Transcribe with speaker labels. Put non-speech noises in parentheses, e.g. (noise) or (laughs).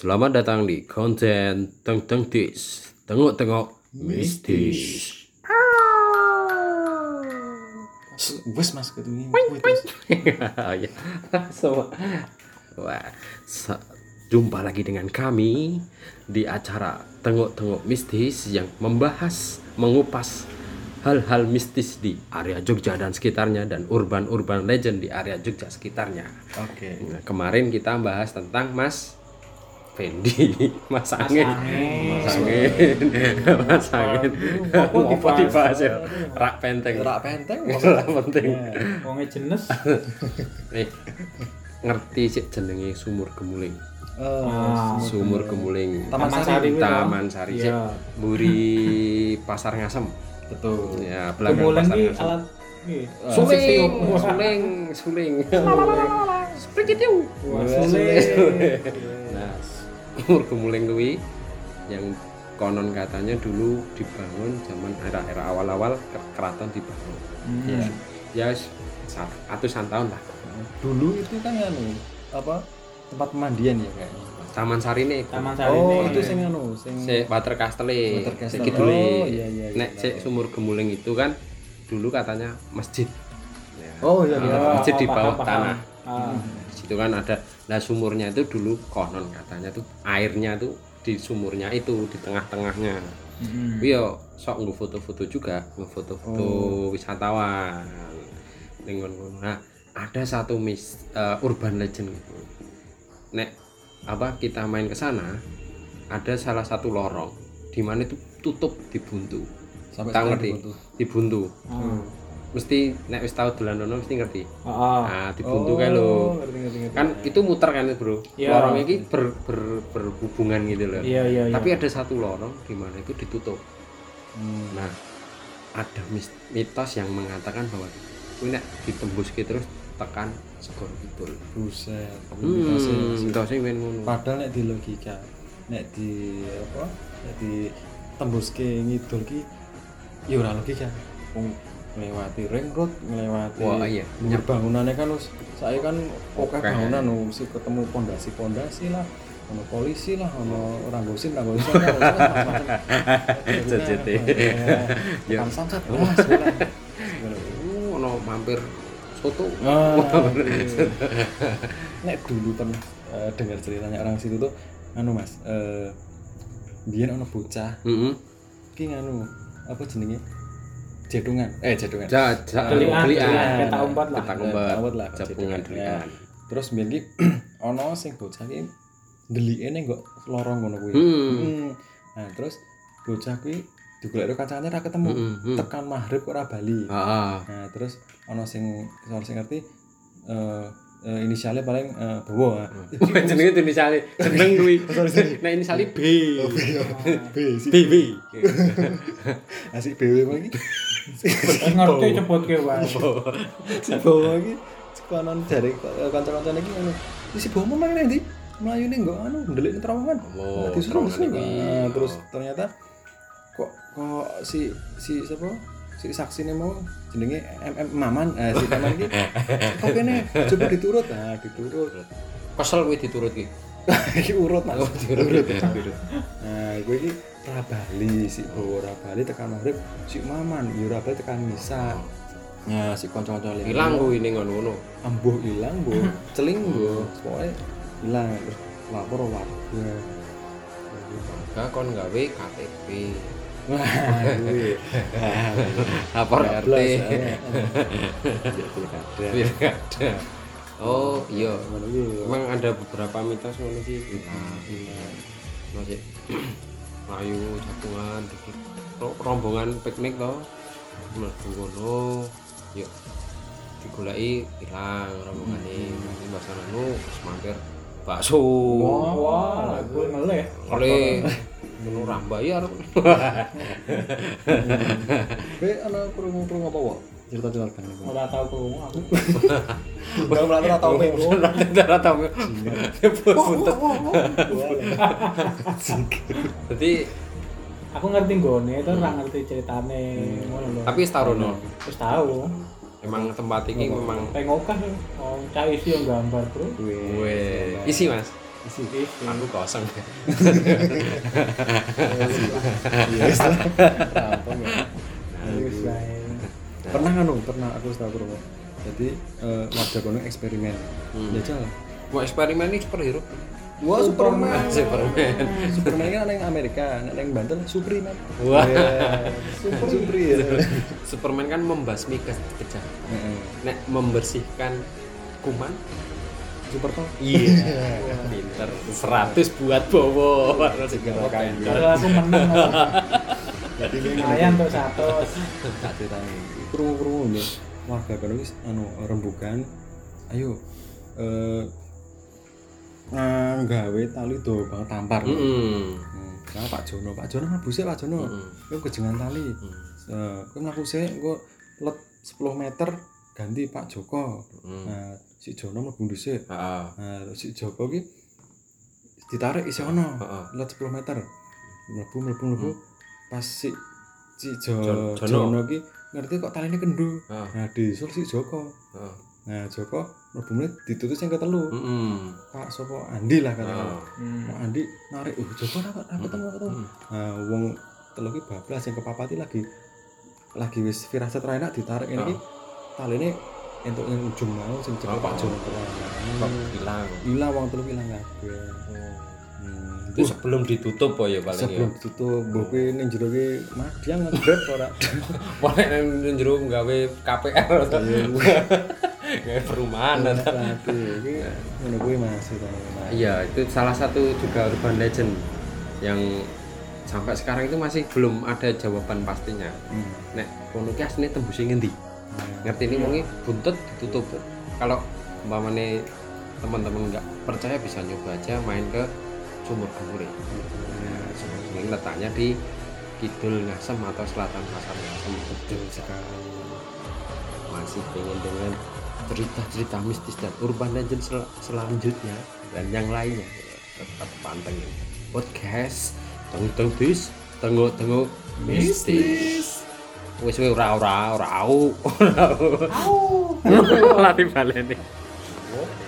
Speaker 1: Selamat datang di konten Teng Teng Tis. Tengok-tengok mistis.
Speaker 2: Wes mas ketemu.
Speaker 1: (laughs) ya. Semua. Wah. sa- jumpa lagi dengan kami di acara Tengok-tengok mistis yang membahas, mengupas hal-hal mistis di area Jogja dan sekitarnya dan urban-urban legend di area Jogja sekitarnya.
Speaker 2: Oke.
Speaker 1: Nah, kemarin kita bahas tentang Mas Fendi, (laughs) Mas Angin, Mas Angin, Mas Angin, apa dibahas ya? (laughs) Rak penteng,
Speaker 2: Rak penteng.
Speaker 1: rak penting. Iya.
Speaker 3: Wonge jenis.
Speaker 1: Eh, ngerti sih jenenge sumur gemuling,
Speaker 3: Ah,
Speaker 1: sumur gemuling,
Speaker 2: Taman
Speaker 3: Taman
Speaker 2: Sari.
Speaker 3: Sari. kuwi to.
Speaker 1: Taman Sari sih,
Speaker 3: Iya.
Speaker 1: Buri Pasar Ngasem,
Speaker 2: Betul.
Speaker 1: ya belakang
Speaker 3: Kumulan
Speaker 1: Pasar Ah.
Speaker 3: iki
Speaker 1: Ngasem.
Speaker 3: alat iki.
Speaker 1: Suling, suling, suling, suling, Sprigitiu.
Speaker 3: Wah,
Speaker 1: Suling.
Speaker 3: sulit.
Speaker 1: Nah, umur gemuleng kuwi yang konon katanya dulu dibangun zaman era-era awal-awal ke- keraton dibangun.
Speaker 3: Hmm.
Speaker 2: Iya.
Speaker 1: Ya wis sa- atusan tahun lah.
Speaker 2: Dulu itu kan anu apa tempat pemandian ya kayaknya.
Speaker 1: Taman Sarine. iku.
Speaker 3: Taman Sari.
Speaker 2: Oh
Speaker 3: ini.
Speaker 2: itu sing anu sing.
Speaker 1: Sik Water Castle. e.
Speaker 2: Water Castle.
Speaker 1: Sik kidule.
Speaker 2: Oh, iya, iya, iya.
Speaker 1: Nek sik sumur gemuleng itu kan dulu katanya masjid. Ya.
Speaker 2: Oh iya.
Speaker 1: Nah,
Speaker 2: iya.
Speaker 3: Oh,
Speaker 1: masjid di bawah
Speaker 3: paham, paham.
Speaker 1: tanah.
Speaker 3: Ah.
Speaker 1: Di situ kan ada nah sumurnya itu dulu konon katanya tuh airnya tuh di sumurnya itu di tengah-tengahnya.
Speaker 2: Mm-hmm.
Speaker 3: Mm-mm.
Speaker 1: Tapi yo sok nggo foto-foto juga, nggo foto-foto
Speaker 2: Oh.
Speaker 1: wisatawan. Ning ngono. Nah, ada satu mis eh, urban legend gitu. Nek apa kita main ke sana, ada salah satu lorong di mana itu tutup dibuntu. Tak
Speaker 2: Sampai sekarang
Speaker 1: ngerti. Hmm.
Speaker 2: dibuntu.
Speaker 1: Dibuntu.
Speaker 2: Oh.
Speaker 3: Ah.
Speaker 1: Mesti nek wis tau dolan ono mesti ngerti.
Speaker 3: Ah, ah.
Speaker 1: (laughs) Nah, dibuntu
Speaker 2: Oh,
Speaker 1: kae lho.
Speaker 2: Ngerti ngerti ngerti.
Speaker 1: Kan itu muter kan, Bro.
Speaker 3: Iya.
Speaker 1: Lorong iki ber, ber- berhubungan gitu loh.
Speaker 3: Iya, iya, iya.
Speaker 1: Tapi ada satu lorong di mana itu ditutup.
Speaker 2: Hmm.
Speaker 1: Nah, ada mis- mitos yang mengatakan bahwa kuwi nek ditembus ki terus tekan segor kidul.
Speaker 2: Buset.
Speaker 1: Hmm, mitosnya main ngono.
Speaker 2: Padahal nek di logika, nek di apa, nek di tembus ke ngidul ki, ya ora logika. Wong melewati ring road, melewati
Speaker 1: Wah, iya.
Speaker 2: Nyur bangunannya kan wis saya kan oke
Speaker 1: Oke.
Speaker 2: bangunan wis ketemu pondasi-pondasi lah, ono polisi lah, ono orang gosin, orang gosin, orang gosin, macam-macam.
Speaker 1: (laughs) JJT.
Speaker 2: Ya.
Speaker 1: (laughs) Ya.
Speaker 2: Tukang samsat, wah, segala. Segala.
Speaker 1: Oh, ono mampir soto.
Speaker 2: Ah, iya. Nek dulu pernah eh, dengar ceritanya orang situ tuh, anu mas, eh biar ono bocah,
Speaker 1: Heeh.
Speaker 2: ki anu apa jenenge? Jedungan, eh jedungan.
Speaker 1: Ja, ja,
Speaker 3: Gelian, gelian,
Speaker 1: gelian.
Speaker 3: peta umpet lah.
Speaker 1: Peta
Speaker 2: Eh,
Speaker 1: umpet.
Speaker 2: awet lah,
Speaker 1: Japungan
Speaker 2: jedungan.
Speaker 1: gelian.
Speaker 2: Nah, Terus biar ki (clears throat) ono sing bocah ki ndelike ning kok lorong ngono kuwi.
Speaker 1: Hmm.
Speaker 2: Hmm. Nah, terus bocah kuwi digolek karo kancane ra ketemu.
Speaker 1: Hmm, hmm.
Speaker 2: Tekan maghrib kok ora bali.
Speaker 1: Ah,
Speaker 2: Nah, terus ono sing ono sing ngerti eh eh, inisialnya paling eh Bowo. ah.
Speaker 1: (laughs) Wah, jenenge itu misalnya jeneng kuwi.
Speaker 2: Sorry, sorry.
Speaker 1: Nah, ini sali B.
Speaker 2: (laughs) B si
Speaker 1: BB.
Speaker 2: asik BW mah iki.
Speaker 3: Wis ngerti cepot ke wae.
Speaker 2: Si Bowo iki konon dari kanca-kanca iki ngono. Iki Si Bowo mang nang ndi? Melayu ning nggo anu ndelik ning terowongan.
Speaker 1: Oh,
Speaker 2: Nah, disuruh
Speaker 1: terowongan
Speaker 2: disuruh.
Speaker 1: iki.
Speaker 2: Nah, terus ternyata kok kok si si siapa? si saksi ini mau jenenge MM Maman eh, si Maman iki kok kene coba diturut nah diturut
Speaker 1: Kesel kuwi diturut ki.
Speaker 2: (laughs) iki urut nah
Speaker 1: (laughs) Oh, Diturut. diturut.
Speaker 2: Nah, gue ini Rabali, si Bowo Rabali tekan Maghrib, si Maman, yo Rabali tekan Misa. Nah, si konco-konco liya.
Speaker 1: Hilang kuwi ning ngono.
Speaker 2: Ambuh hilang, (clears throat) Bu. Celing, Bu. Pokoke hilang terus lapor warga.
Speaker 1: Gak kon gawe KTP.
Speaker 2: Wah, (laughs) gue. Nah,
Speaker 1: Lapor RT.
Speaker 2: bablas,
Speaker 1: (laughs)
Speaker 2: eh. Ya, pilkada.
Speaker 1: Pilkada. Oh, iya.
Speaker 2: Ngono kuwi.
Speaker 1: Emang ada beberapa mitos ngono sih. Masih (clears throat) Melayu, jagungan, dikit. Ro- rombongan piknik toh. Mlebu ngono. Yuk. Digoleki hilang rombongane. Mungkin basananmu terus mampir bakso.
Speaker 3: Wah, gue meleh.
Speaker 1: Oleh ngono ra bayar.
Speaker 2: Gue ana krungu-krungu apa, Wak? Cerita-cerita kan.
Speaker 3: Ora tau krungu aku.
Speaker 2: Bang Melati ora (laughs) tau pengen.
Speaker 1: Ora tau. Buntet.
Speaker 2: Iya.
Speaker 1: Jadi
Speaker 3: Aku ngerti nggone, itu ora ngerti ceritane ngono lho.
Speaker 1: tapi Starono
Speaker 3: Wis tau.
Speaker 1: emang tempat ini memang
Speaker 3: Pengokan oh, cah isi yang gambar, Bro.
Speaker 2: Gue.
Speaker 1: Weh, isi mas
Speaker 3: Sih.
Speaker 1: aku kosong
Speaker 2: Iya, wis lah. Rampung ya.
Speaker 3: Wis bae.
Speaker 2: pernah kan pernah aku setahu aku jadi eh, warga kono eksperimen
Speaker 3: Hmm.
Speaker 2: jajal
Speaker 1: mau eksperimen ini superhero
Speaker 2: wah Superman
Speaker 1: Superman.
Speaker 3: Hmm.
Speaker 2: Superman kan ada yang Amerika ada yang Banten Superman
Speaker 3: (laughs)
Speaker 1: Wah.
Speaker 2: Iya. Super Supri ya
Speaker 1: Superman kan membasmi ke- kejahatan
Speaker 2: Heeh.
Speaker 1: nek membersihkan kuman
Speaker 2: Super Tom
Speaker 1: iya pinter 100 buat bowo
Speaker 2: Segala kayu.
Speaker 3: Kalau aku menang
Speaker 2: jadi ini
Speaker 3: lumayan tuh satu.
Speaker 2: tak ceritanya kurung-kurung lho warga kono wis anu rembukan ayo eh nggawe tali do banget tampar
Speaker 1: Hmm.
Speaker 2: Hmm, Nah, Pak Jono, Pak Jono mlebu sik Pak
Speaker 3: Hmm.
Speaker 2: Jono. Kowe kejengan tali. Eh, kowe mlaku sik engko let 10 meter ganti Pak Joko.
Speaker 1: Hmm.
Speaker 2: Nah, si Jono mlebu dhisik.
Speaker 1: Heeh.
Speaker 2: Nah, terus si Joko ki ditarik isih ono.
Speaker 1: Heeh.
Speaker 2: Let 10 meter. Mlebu mlebu mlebu. Pas si si
Speaker 1: Jo-
Speaker 2: Jo-
Speaker 1: Jono.
Speaker 2: Jono ki ngerti kok taline kendu.
Speaker 1: Heeh.
Speaker 2: Nah, disul si Joko.
Speaker 1: Heeh.
Speaker 2: Nah, Joko mlebu menit ditutus sing ketelu.
Speaker 1: Mm-mm. Ah,
Speaker 2: Pak sapa Andi lah katanya.
Speaker 1: Heeh.
Speaker 3: Hmm.
Speaker 2: Mak Andi narik, "Uh, Joko ora kok ketemu ora ketemu."
Speaker 1: Hmm.
Speaker 2: Nah, wong telu ki bablas yang kepapati lagi lagi wis firasat ra enak ditarik ini
Speaker 1: Ah.
Speaker 2: ki taline entuk ning ujung mau sing jebol Pak Jono
Speaker 1: Kok
Speaker 2: tenan.
Speaker 1: hilang
Speaker 2: Ilang wong telu ilang kabeh. Hmm.
Speaker 1: itu sebelum ditutup po ya paling ya
Speaker 2: Sebelum ditutup mbok kuwi ning jero ki madyang ngegrep
Speaker 1: (laughs)
Speaker 2: ora.
Speaker 1: Pokoknya yang- yang jero nggawe KPR atau nggawe perumahan atau
Speaker 2: Tapi iki ngono kuwi Mas. itu.
Speaker 1: Iya, itu salah satu juga urban legend yang sampai sekarang itu masih belum ada jawaban pastinya.
Speaker 2: Hmm.
Speaker 1: Nek kono ki asline tembuse ngendi?
Speaker 2: Nah,
Speaker 1: Ngerti ini wonge buntut ditutup. Kalau umpamane teman-teman nggak percaya bisa nyoba aja main ke sumur gure. Nah, sumur Gure ini letaknya di kidul ngasem atau selatan pasar ngasem kidul sekali masih pengen dengan cerita-cerita mistis dan urban legend sel- selanjutnya dan yang lainnya tetap pantengin podcast tengok tengok bis tengok tengok mistis wis wis ora ora ora au ora au (laughs) lari baleni
Speaker 3: Oke.